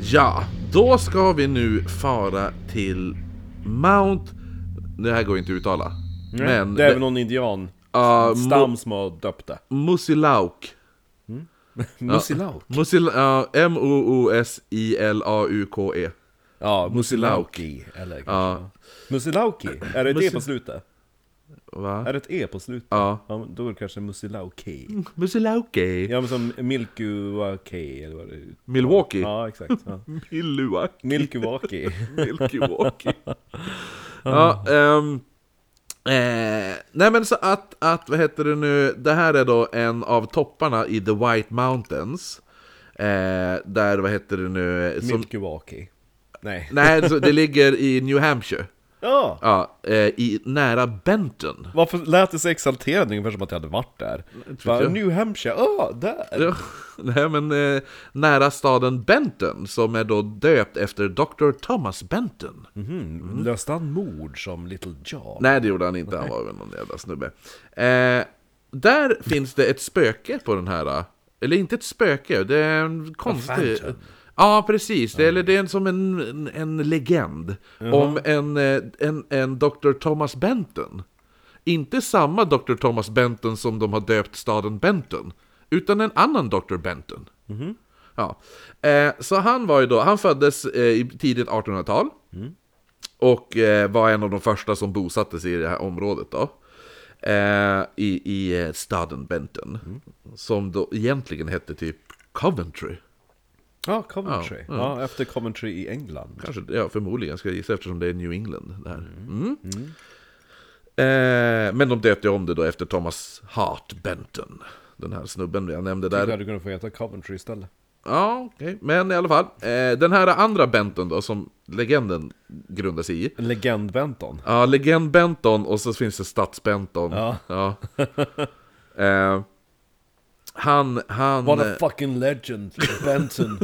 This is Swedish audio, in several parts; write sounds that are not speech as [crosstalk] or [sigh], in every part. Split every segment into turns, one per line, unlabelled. Ja, då ska vi nu fara till Mount... Det här går inte att uttala. Men...
det är väl någon indian
ah, Mo-
stam som har döpt det.
Musilauk.
Musilauk?
Musil, ja, M-O-O-S-I-L-A-U-K-E.
Ja, Musilauki. Eller
Ja,
Musilauki? Är det ett E
Musi-
på slutet?
va?
Är det ett E på slutet?
Ja.
Ja, men då är det kanske Musilauki.
Musilauki.
Ja men som Milkuaki eller vad det är.
Milwaukee.
Ja exakt. Ja.
Milwaukee.
[laughs] Milkuaki.
Milwaukee. ja, ehm, eh, nej men så att, att, vad heter det nu, det här är då en av topparna i The White Mountains. Eh, där, vad heter det nu, som,
Milkuaki. Nej.
nej, så det ligger i New Hampshire.
Ja!
Ja, eh, i, nära Benton. [laughs]
Varför lät det så exalterande ungefär som att jag hade varit där? Bara,
jag.
New Hampshire, ah, där!
Ja, nej men eh, nära staden Benton som är då döpt efter Dr. Thomas Benton.
Mm. Löste han mord som Little John?
Nej det gjorde han inte, han var väl någon jävla snubbe. Eh, där finns det ett spöke på den här, eh, eller inte ett spöke, det är en konstig...
phantom.
Ja precis, det, eller det är en, som en, en, en legend om en, eh, en, en Dr. Thomas Benton. Inte samma Dr. Thomas Benton som de har döpt staden Benton, utan en annan Dr. Benton. Ja. Eh, så han var ju då, han föddes eh, i tidigt 1800-tal. Och eh, var en av de första som bosatte sig i det här området då. Eh, I i eh, staden Benton. Som då egentligen hette typ Coventry.
Ja, Coventry. Ja, efter Coventry i England.
Kanske, ja förmodligen ska jag gissa eftersom det är New England där. Mm. Eh, men de döpte om det då efter Thomas Hart Benton. Den här snubben jag nämnde där.
Där hade kunnat få heta Coventry istället.
Ja, okej. Men i alla fall. Eh, den här andra Benton då, som legenden grundar sig i.
Legend Benton.
Ja, legend Benton och så finns det stads-Benton.
Ja.
[laughs] Eh, han, han... eh,
What a fucking legend, [laughs] Benton.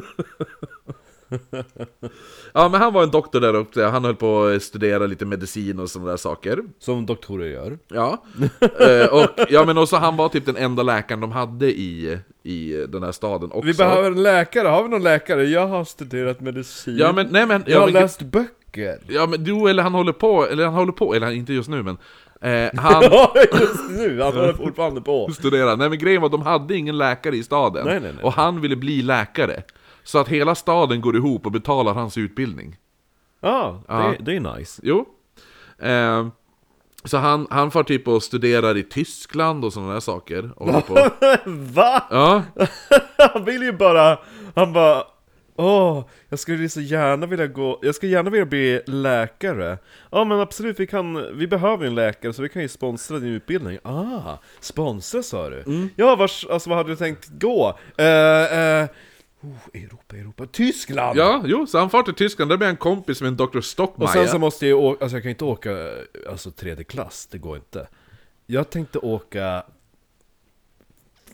Ja, men han var en doktor där uppe. Han höll på att studera lite medicin och sådana där saker.
som doktorer gör.
Ja. [laughs] Eh, och, ja, men också han var typ den enda läkaren de hade i, i den här staden också.
Vi behöver en läkare, har vi någon läkare? Jag har studerat medicin.
Ja, men nej men...
jag
Ja,
har
men,
läst böcker.
ja, men jo, eller han håller på, eller han håller på, eller han- inte just nu men... Eh, han... [laughs]
Ja, [laughs] just nu, han håller fortfarande på.
studera. Nej men grejen var att de hade ingen läkare i staden.
Nej, nej, nej.
Och han ville bli läkare. Så att hela staden går ihop och betalar hans utbildning.
Ja,
Ja.
det, det är nice.
Jo. Eh, så han, han får typ och studerar i Tyskland och sådana där saker. Och håller
[laughs]
på.
[laughs] Va?
Ja,
Han vill ju bara, han bara Åh, jag skulle så gärna vilja gå, jag skulle gärna vilja bli läkare Ja men absolut, vi kan, vi behöver ju en läkare så vi kan ju sponsra din utbildning Ah, sponsra sa du? Ja, vars, alltså vad hade du tänkt gå? Eh, eh, oh, Europa, Europa, Tyskland!
ja, jo, så han far till Tyskland, där blir han kompis med en Dr.
Och
Stockmeyer.
sen så måste jag ju åka, alltså jag kan ju inte åka eh, alltså tredje klass, det går inte. Jag tänkte åka...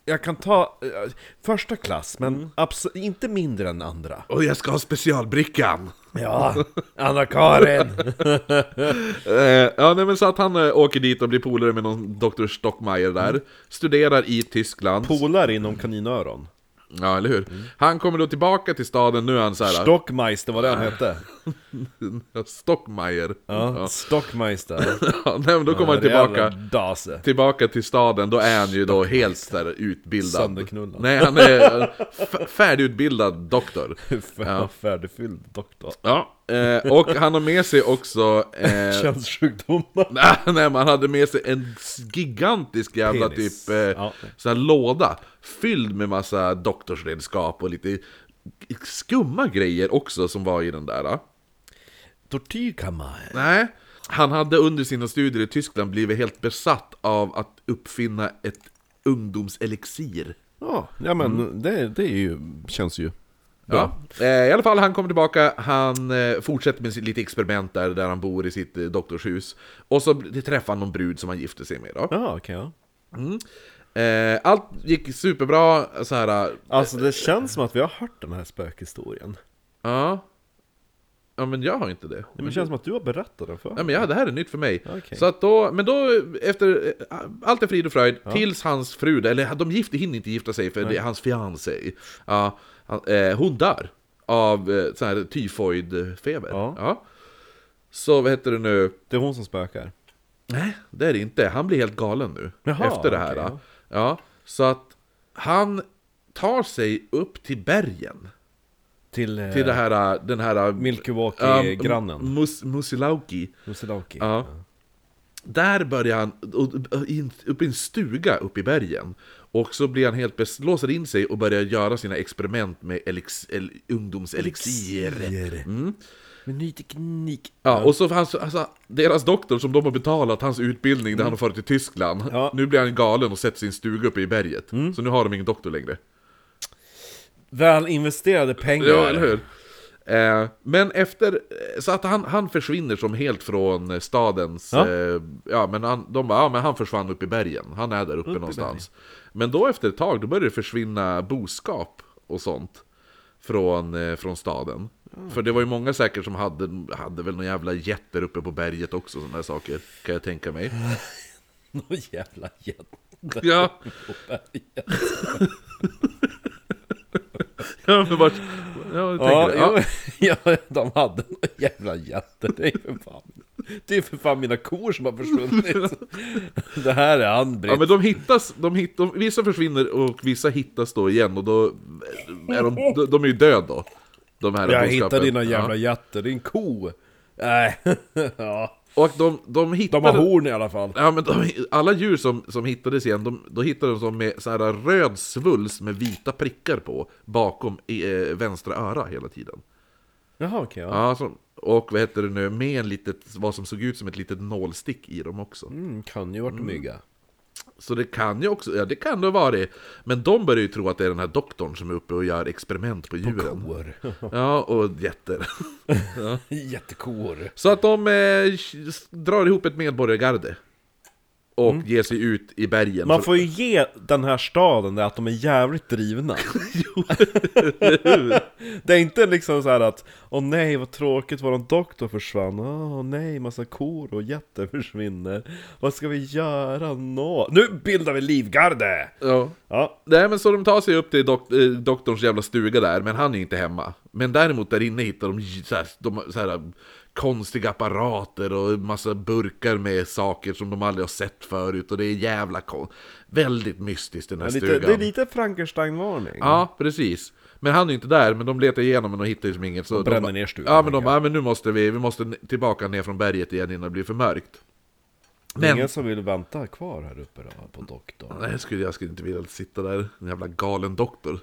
Jag kan ta eh, första klass, men abso- inte mindre än andra.
Och jag ska ha specialbrickan!
Ja, Anna-Karin! [laughs]
Eh, ja, nej, men så att han eh, åker dit och blir polare med någon Dr. Stockmeyer där.
Mm.
Studerar i Tyskland.
Polare inom kaninöron.
ja, eller hur?
Mm.
Han kommer då tillbaka till staden, nu är han så här. [laughs]
Stockmeister var det han hette.
Ja, Stockmeyer.
Ja, Stockmeister.
[laughs] Ja, nej, men då kommer han tillbaka,
Dase.
tillbaka till staden, då är han ju då helt där utbildad.
Sönderknullad.
Nej, han är eh, f- färdigutbildad
[laughs]
doktor.
Ja. Färdigfylld doktor.
Ja, eh, och han har med sig också... Eh,
Könssjukdomar.
nej, [laughs] nej, man hade med sig en gigantisk jävla
Penis.
typ eh,
Ja.
sån här låda fylld med massa doktorsredskap och lite skumma grejer också som var i den där. eh.
Tortyrkammare.
Nej. Han hade under sina studier i Tyskland blivit helt besatt av att uppfinna ett ungdomselixir.
Ja, ja men det, det är ju, känns ju
Ja. Eh, I alla fall, han kommer tillbaka, han eh, fortsätter med sitt lite experiment där, där han bor i sitt eh, doktorshus. Och så bl- träffar han någon brud som han gifte sig med då.
Ja, okej ja.
Eh, allt gick superbra, så här... eh,
Alltså det känns som att vi har hört den här spökhistorien
Ja. ja men jag har inte det.
Men det känns som att du har berättat den för
Nej men ja, det här är nytt för mig.
Okej.
Så att då, men då, efter, eh, allt är frid och fröjd, tills hans fru, eller de gifte, hinner inte gifta sig för det är hans fiancé. Ja, han, eh, hon dör av eh, sån här tyfoidfeber.
Ja.
Ja. Så vad heter det nu?
Det är hon som spökar.
Nej, det är det inte. Han blir helt galen nu.
Jaha,
efter det här.
okej,
ja. ja, så att han tar sig upp till bergen.
Till, eh,
Till det här, eh, den här... eh,
Milwaukee-grannen.
Ja, Mus- Musilauki.
Musilaki.
Ja. Där börjar han, och- och in- uppe i en stuga uppe i bergen. Och så blir han helt bes- låser in sig och börjar göra sina experiment med elix, el, ungdomselixir.
Mm. Med ny teknik.
Ja, och så hans, alltså, deras doktor som de har betalat hans utbildning där han har farit till Tyskland.
Ja.
Nu blir han galen och sätter sin stuga uppe i berget. Så nu har de ingen doktor längre.
Väl investerade pengar.
Ja, eller hur? Eh, men efter, eh, så att han, han försvinner som helt från eh, stadens,
Ja.
ja, eh, ja men han, de bara, ja men han försvann upp i bergen, han är där uppe någonstans. Men då efter ett tag, då börjar det försvinna boskap och sånt från, eh, från staden. För det var ju många säkert som hade, hade väl några jävla jätter uppe på berget också, sådana här saker, kan jag tänka mig.
Någon jävla jätte.
Ja. [laughs] ja, men vart, ja, jag tänker
Ja,
det. ja.
ja. ja, de hade någon jävla jätte. Det är ju för fan, det är för fan mina kor som
[laughs]
har försvunnit. Det här är
Ja
Ann-Britt.
men de hittas, de hit, de, vissa försvinner och vissa hittas då igen och då är de, de, de är ju död då. De här
Jag
boskapen.
hittade dina jävla
Ja.
jätter, din ko! Nej, [laughs] ja.
Och de, de
De
hittade...
har horn i alla fall.
Ja, men de, alla djur som, som hittades igen, de, då hittade de som med så här röd svulst med vita prickar på bakom i, eh, vänstra öra hela tiden.
Jaha okej, ja.
Ja, så, och vad heter det nu, med en litet, vad som såg ut som ett litet nålstick i dem också.
Mm, kan ju varit mygga.
Så det kan ju också, ja det kan det ha varit. Men de börjar ju tro att det är den här doktorn som är uppe och gör experiment på djuren.
Kor. [laughs]
Ja, och jätter. [laughs]
Jättekor.
Så att de eh, s- drar ihop ett medborgargarde. Och ger sig ut i bergen.
Mm. Man
Så-
får ju ge den här staden det att de är
[laughs]
jävligt drivna. [laughs] det är inte liksom så här att Åh nej vad tråkigt, våran doktor försvann, åh nej massa kor och jätter försvinner. Vad ska vi göra nå? Nu bildar vi livgarde!
Ja.
Ja,
Nej men så de tar sig upp till dok- eh, doktorns jävla stuga där, men han är inte hemma. Men däremot där inne hittar de, j- så här, de har så här, konstiga apparater och massa burkar med saker som de aldrig har sett förut. Och det är jävla kon- Väldigt mystiskt i den här
det är lite,
stugan.
det är lite Frankenstein-varning.
Ja, precis. Men han är ju inte där, men de letar igenom men och hittar ju som inget. Så de
bränner
bara-
ner stugan,
Ja, men de
helt
bara, "Ja, men nu måste vi, vi måste n- tillbaka ner från berget igen innan det blir för mörkt.
Det är
Men,
Ingen som vill vänta kvar här uppe då, på doktorn.
nej, jag skulle, jag skulle inte vilja sitta där, en jävla galen doktor.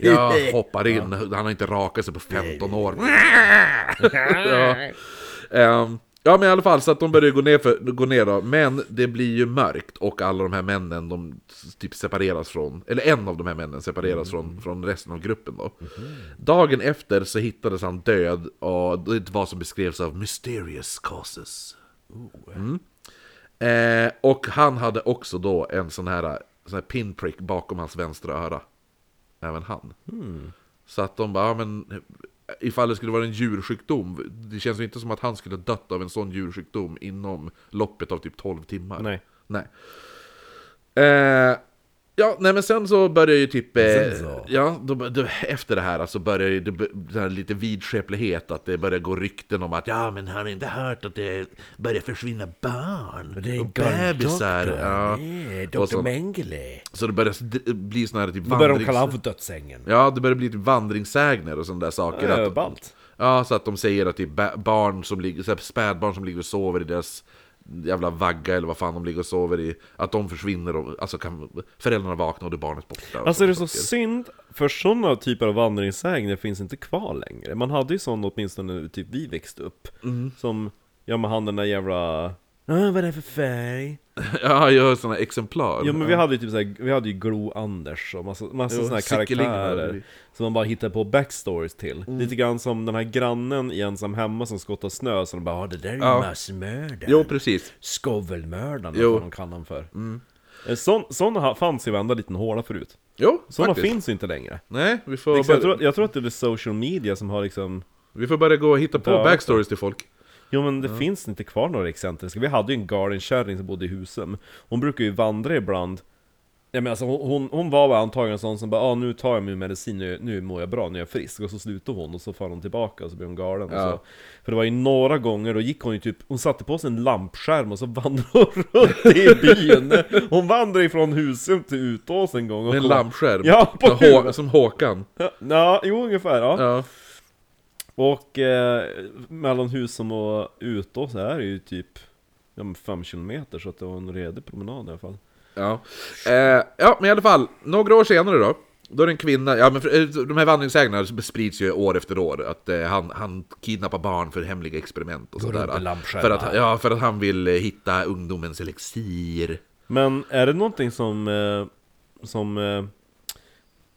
Jag hoppar in, han har inte rakat sig på 15 år. ja. Ehm, ja, men i alla fall, så att de börjar gå ner, för, gå ner då. Men det blir ju mörkt och alla de här männen, de s- typ separeras från, eller en av de här männen separeras från, från resten av gruppen då. Dagen efter så hittades han död och det var som beskrevs av mysterious causes. Eh, och han hade också då en sån här, sån här pinprick bakom hans vänstra öra. Även han. Så att de bara, ja, men ifall det skulle vara en djursjukdom, det känns ju inte som att han skulle ha dött av en sån djursjukdom inom loppet av typ 12 timmar.
Nej.
Nej. Eh, ja, nej men sen så börjar ju typ... Eh,
Sen så.
Ja, då, bör- då, efter det här alltså börjar ju det, b- så här lite vidskeplighet, att det börjar gå rykten om att ja, men har ni inte hört att det börjar försvinna barn? och bebisar. Ja. Och så,
Mengele.
så det börjar d- bli såna här typ
Då börjar de
vandrings-
kalla honom för dödssängen.
Ja, det börjar bli typ vandringssägner och sådana där saker.
Äh,
att,
ballt.
Ja, så att de säger att det är ba- barn som ligger, så här spädbarn som ligger och sover i deras jävla vagga eller vad fan de ligger och sover i. Att de försvinner och alltså kan föräldrarna vakna och det är barnet borta. och
Alltså det är så
sådana saker.
synd, för sådana typer av vandringssägner finns inte kvar längre. Man hade ju sådana åtminstone när typ vi växte upp.
Mm.
Som, ja men han den där jävla... Ah, vad är det för färg?
[laughs] Ja, jag har sådana exemplar.
Ja men vi hade ju typ såhär, vi hade ju Glo-Anders och massa, massa
Jo,
sådana här
Sickeling hade
karaktärer
vi. Mm.
Som man bara hittade på backstories till Lite grann som den här grannen i Ensam Hemma som skottar snö som bara "Ah, det där är ju
Ja.
massmördaren
Jo, precis.
Skovelmördaren,
Jo. Mm.
vad fan de kallar honom för Eh, sån, Sådana här fanns ju i varenda liten håla förut
Jo,
Sådana
faktiskt.
finns ju inte längre
Nej, vi får...
Liksom, jag,
Börja...
tror, jag tror att det är social media som har liksom
Vi får börja gå och hitta på
Ja.
backstories till folk.
Jo men det finns inte kvar några excentriska. Vi hade ju en gardenkärring som bodde i Husum. Hon brukar ju vandra ibland. Jag menar, alltså, hon, hon, hon var väl antagligen en sån som bara ah, nu tar jag min medicin, nu, nu mår jag bra, nu är jag frisk. Och så slutar hon och så far hon tillbaka och så blir hon galen.
Ja.
Och så. För det var ju några gånger, då gick hon ju typ, hon satte på sig en lampskärm och så [laughs] vandrade hon runt i byn. Hon vandrade ifrån Husum till Utås en gång. Och
Med en
kom-
lampskärm.
Ja, på
Som Hå-
huvudet!
som Håkan.
Ja, jo ungefär. Ja.
Ja.
Och eh, mellan Husum och Utås är det ju typ 5 km så att det var en redig promenad i alla fall.
Ja. Eh, ja, men i alla fall, några år senare då. Då är det en kvinna, ja men för, eh, de här vandringssägnerna sprids ju år efter år, att eh, han, han kidnappar barn för hemliga experiment och sådär.
med lampskärmar.
För att, ja, för att han vill eh, hitta ungdomens elixir.
Men är det någonting som, eh, som eh,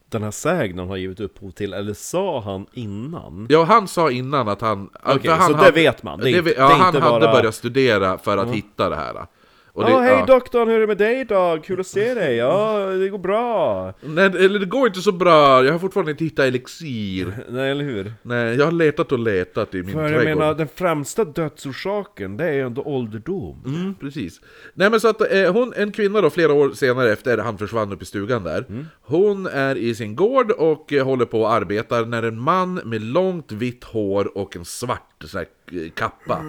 den här sägnen har givit upphov till, eller sa han innan?
Ja, han sa innan att han... Okej,
så det vet man, det är inte-
ja,
det är
han hade
inte bara- Mm.
börjat studera för att hitta det här. Och
Ja,
det-
hej
ja.
doktorn, hur är det med dig idag? Kul att se dig! Ja, det går bra!
Nej, eller det går inte så bra, jag har fortfarande inte hittat elixir.
Nej, eller hur?
Nej, jag har letat och letat i min
För jag
trädgård.
menar, den främsta dödsorsaken, det är ju ändå ålderdom.
Mm, precis. Nej men så att eh, hon, en kvinna då, flera år senare efter han försvann upp i stugan där. Hon är i sin gård och eh, håller på och arbetar när en man med långt vitt hår och en svart så här, eh, kappa.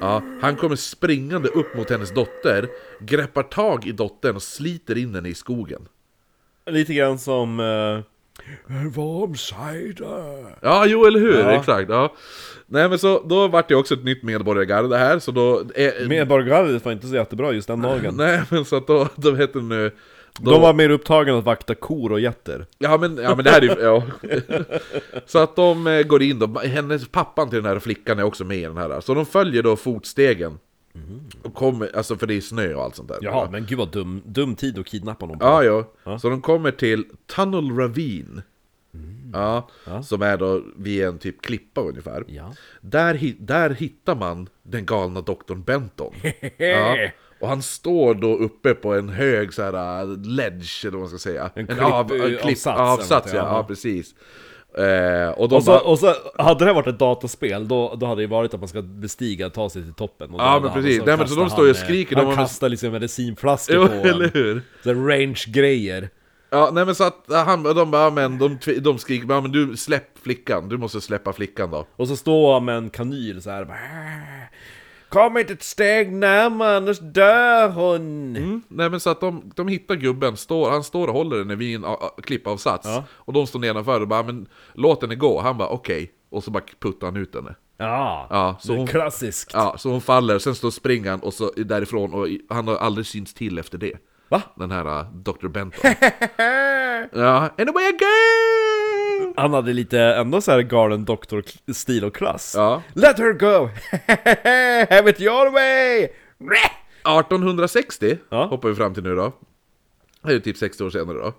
Ja, han kommer springande upp mot hennes dotter, greppar tag i dottern och sliter in henne i skogen.
Lite grann som... Eh, Varm cider!
Ja, jo eller hur,
Ja.
exakt. Ja. Nej men så, då vart det också ett nytt medborgargarde det här, så då...
Typ.
eh,
Medborgargardet var inte så jättebra just den dagen.
nej men så att då, då heter hon nu...
De var mer upptagna att vakta kor och getter.
Ja men, ja men det här är ju, ja. [laughs] Så att de eh, går in då, hennes pappan till den här flickan är också med i den här. Så de följer då fotstegen. Och kommer, alltså för det är snö och allt sånt där.
Jaha, men gud vad dum, dum tid att kidnappa någon på. [laughs]
Ja, ja. Så de kommer till Tunnel Ravine. Ja, som är då vid en typ klippa ungefär.
Ja.
Där, hi- där hittar man den galna doktorn Benton. ja.
Eh.
Och han står då uppe på en hög så här äh, ledge, eller vad man ska säga. En,
klipp-
en
avsats eller
avsats
något,
ja.
ja.
ja, precis. Eh, och de
Och så,
bara,
och så, hade det varit ett dataspel, då, då hade det varit att man ska bestiga, ta sig till toppen. Och då
Ja,
hade
men
han-
precis.
och
Nej, men så
kastar
de står ju och
han, eh,
skriker, de
Han
har-
kastar liksom medicinflaskor
Jo, [laughs]
på
eller
en.
hur?
Så här range-grejer.
Ja, nej men så att han, och de bara, ja, men de, tvi- de skriker, ja men du släpp flickan, du måste släppa flickan då.
Och så står han med en kanyl så här. bara, "Äh, Kom inte ett steg närmare, annars dör hon!
Mm. Nej men så att de, de hittar gubben, står, han står och håller den vid en a- a- klippavsats
Ja.
Och de står nedanför och bara men låt henne gå, han bara okej Och så bara puttar han ut henne
Ja,
Ja, så
det är
hon-
klassiskt.
Ja, så hon faller, sen står springer han och så därifrån och i- han har aldrig synts till efter det
Va?
Den här uh, Dr.
[laughs]
Benton Ja, anyway again!
Han hade lite ändå så här galen doktor-stil och klass.
Ja.
Let her go! [laughs] Have it your way!
1860
Ja.
hoppar vi fram till nu då. Det är ju typ 60 år senare då.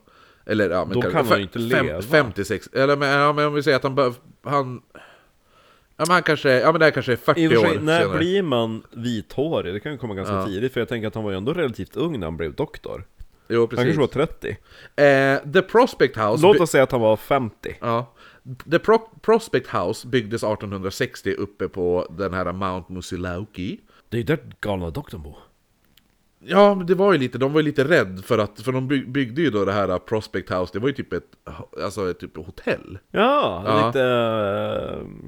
Eller ja, men
Då
kanske-
kan han ju
fe-
inte
fem-
leva.
56, eller men, ja, men om vi säger att han bör, han... Ja men han kanske, ja men det här kanske är 40
I och för
år
sig, när
senare.
blir man vithårig? Det kan ju komma ganska tidigt, för jag tänker att han var ju ändå relativt ung när han blev doktor.
Jo
Han
precis.
kanske var 30.
Eh, The Prospect House...
Låt
by-
oss säga att han var 50.
Ja. The Pro Prospect House byggdes 1860 uppe på den här Mount Musilauki.
Det är ju där galna doktorn bor.
Ja, men det var ju lite, de var ju lite rädd för att, för de byg- byggde ju då det här Prospect House, det var ju typ ett, alltså ett typ hotell.
Ja,
Ja.
lite...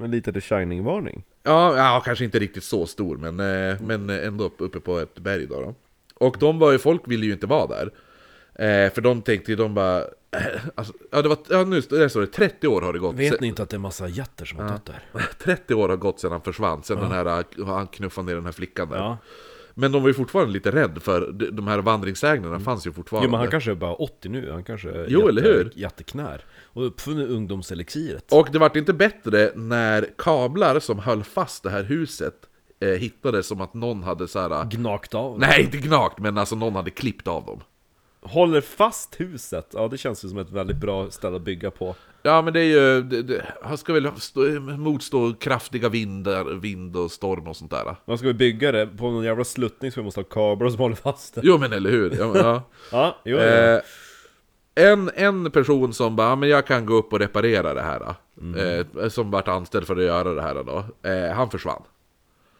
eh, lite The Shining-varning.
Ja, ja, kanske inte riktigt så stor, men, eh, men ändå upp- uppe på ett berg då. då. Och de var ju, folk ville ju inte vara där. Eh, för de tänkte ju, de bara... alltså, ja, det var, ja, nu står- där står det, 30 år har det gått.
Vet
se-
ni inte att det är massa jätter som har dött där?
[laughs] 30 år har gått sedan han försvann, sedan den här, eh, han knuffade ner den här flickan där.
Ja.
Men de var ju fortfarande lite rädd för de de här vandringssägnerna fanns ju fortfarande.
Mm. Jo men han kanske är bara 80 nu, han kanske är
Jo, eller hur?
jätteknär. Och uppfunnit ungdomselixiret.
Och det vart inte bättre när kablar som höll fast det här huset eh, hittades som att någon hade så här... eh,
Gnagt av.
Nej, inte gnagt, men alltså någon hade klippt av dem.
Håller fast huset, ja det känns ju som ett väldigt bra ställe att bygga på.
Ja men det är ju, det, det, han ska väl stå, motstå kraftiga vindar, vind och storm och sånt där.
Man ska vi bygga det på någon jävla sluttning så vi måste ha kablar som håller fast det.
Jo men eller hur? Ja, men, ja.
Ja, jo,
Eh, en, en person som bara, "Ja, men jag kan gå upp och reparera det här. Eh, som vart anställd för att göra det här då. Eh, han försvann.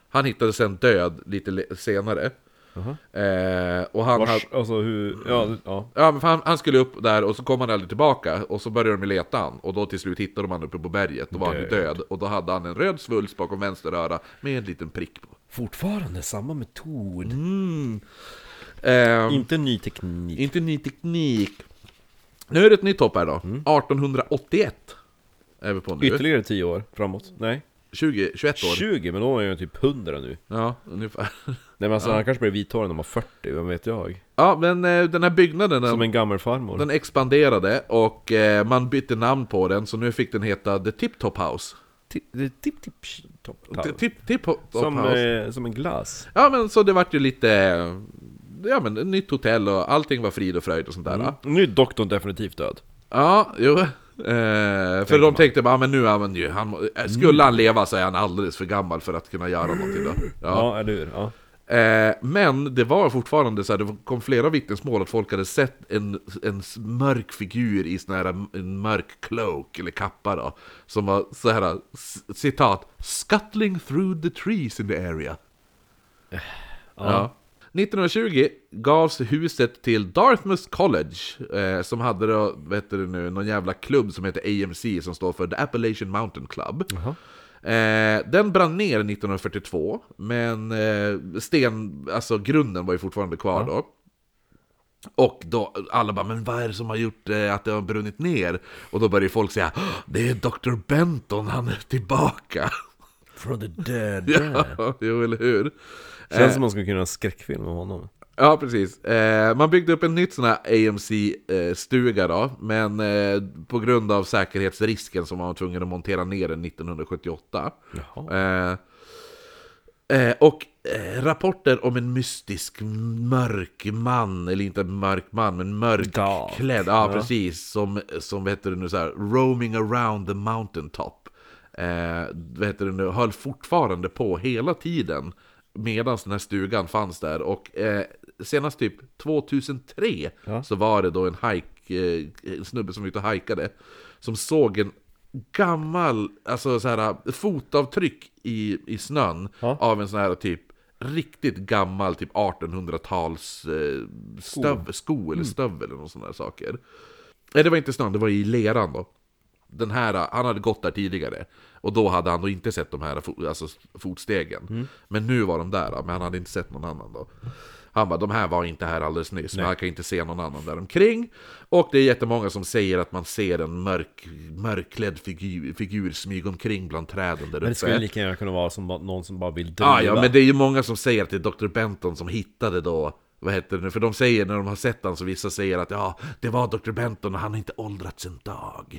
Han hittades sen död lite le- senare. Eh, och han hade-
Vars, alltså hur, ja, ja.
Ja, men för han, han skulle upp där och så kom han aldrig tillbaka och så började de leta han och då till slut hittade de han uppe på berget. Då var han ju död och då hade han en röd svulst bakom vänster öra med en liten prick på.
Fortfarande samma metod.
Mm. Ehm,
Inte ny teknik.
inte ny teknik. Nu är det ett nytt hopp här då. 1881 är vi på nu.
Mm. Ytterligare 10 år framåt. Nej.
20, 21 år.
20, men då är jag typ 100 nu.
Ja, ungefär. [laughs]
Nej men alltså han kanske blir vithårig när man är 40, vem vet jag?
Ja, men eh, den här byggnaden
Som
den,
en gammal farmor.
den expanderade och eh, man bytte namn på den så nu fick den heta The Tip Top House.
Tipp, tipp, tipp, topp,
Ti- Tip, tip, top
Som,
House.
eh, som en glass.
Ja men så det vart ju lite, ja men ett nytt hotell och allting var frid och fröjd och sånt där.
Mm. Nu är doktorn definitivt död.
Ja, jo. Eh, för de tänkte bara, "Ah, men nu använder ju han, må- eh, skulle han leva så är han alldeles för gammal för att kunna göra någonting då. Ja.
Ja, eller hur? Ja.
Eh, men det var fortfarande så här, det kom flera vittnesmål att folk hade sett en, en mörk figur i sån här, en mörk cloak eller kappa då. Som var så här, c- citat, 'scuttling through the trees in the area' Ja. 1920 gavs huset till Dartmouth College, eh, som hade då, vet du nu, någon jävla klubb som heter AMC, som står för The Appalachian Mountain Club. Eh, den brann ner 1942, men eh, sten, alltså grunden var ju fortfarande kvar då. Och då, alla bara, men vad är det som har gjort eh, att det har brunnit ner? Och då börjar ju folk säga, "Åh, det är Dr. Benton, han är tillbaka! [laughs]
From the dead.
Ja, jo, eller hur?
[laughs] Känns som man skulle kunna göra en skräckfilm om honom.
Ja, precis. Eh, man byggde upp en nytt sån här AMC-stuga eh, då, men eh, på grund av säkerhetsrisken så var man tvungen att montera ner den 1978.
Jaha.
Eh, eh, och eh, rapporter om en mystisk mörk man, eller inte mörk man, men mörkklädd, ja, precis, som, som vad heter det nu så här, roaming around the mountaintop. Eh, vad heter det nu, höll fortfarande på hela tiden medan den här stugan fanns där. Och eh, senast typ 2003 så var det då en, hike, eh, en snubbe som var ute och hajkade som såg en gammal, alltså så här fotavtryck i, i snön av en sån här typ riktigt gammal typ 1800-tals eh, stöv, sko
Mm.
eller stövel eller någon sån där saker. Nej, det var inte snön, det var i leran då. Den här, eh, han hade gått där tidigare. Och då hade han då inte sett de här fo- alltså, fotstegen.
Mm.
Men nu var de där, men han hade inte sett någon annan då. Han bara, de här var inte här alldeles nyss, men han kan inte se någon annan där omkring. Och det är jättemånga som säger att man ser en mörk, mörkklädd figur, figur smyga omkring bland träden där
Men det skulle
uppe.
lika gärna kunna vara som bara- någon som bara vill driva.
Ah, ja, men det är ju många som säger att det är Dr. Benton som hittade då, vad heter det nu, för de säger när de har sett han så vissa säger att ja, det var Dr. Benton och han har inte åldrats en dag.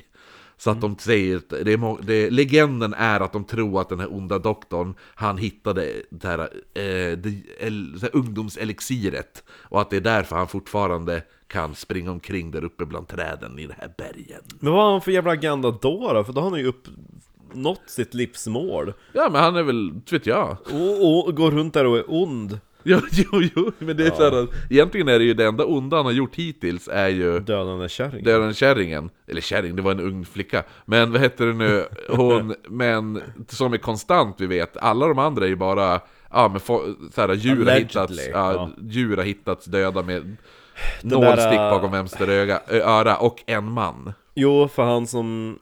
Så att de säger, att det är må- det, legenden är att de tror att den här onda doktorn, han hittade det här, eh, det, el, det här ungdomselixiret. Och att det är därför han fortfarande kan springa omkring där uppe bland träden i den här bergen.
Men vad har han för jävla agenda då då? För då har han ju uppnått sitt livsmål.
Ja, men han är väl, inte vet jag.
Och, och går runt där och är ond.
Ja, jo, jo, men det är så här, att- egentligen är det ju det enda onda han har gjort hittills är ju
Dödande kärring.
det är den kärringen, eller kärring, det var en ung flicka, men vad heter det nu,
[laughs]
hon, men som är konstant vi vet, alla de andra är ju bara, ja men få, så här, djur, har
Allegedly,
hittats, ja,
ja.
djur har hittats döda
[sighs]
med
där,
nålstick
äh,
bakom vänster öga, ö, öra och en man.
Jo, för han som...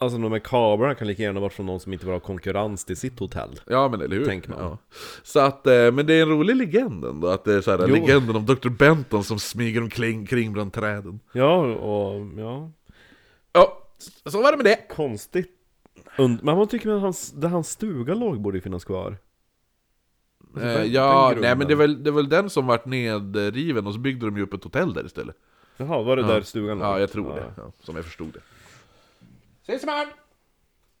Alltså de här kablarna kan lika gärna varit från någon som inte vill ha konkurrens till sitt hotell.
Ja men eller hur?
Tänker man.
Ja. Så att, eh, men det är en rolig legend ändå, att det är så här,
Jo.
legenden om Dr. Benton som smyger omkring kring bland träden.
Ja, och ja...
Ja, så var det med det.
Konstigt. Und men man tycker att hans, där hans stuga låg borde ju finnas kvar.
Eh,
den-
ja,
den
nej men det är,
grunden.
väl, det är väl den som vart nedriven och så byggde de ju upp ett hotell där istället.
Jaha, var det där stugan låg?
Ja, jag tror det. Ja, som jag förstod det. Ses imorgon!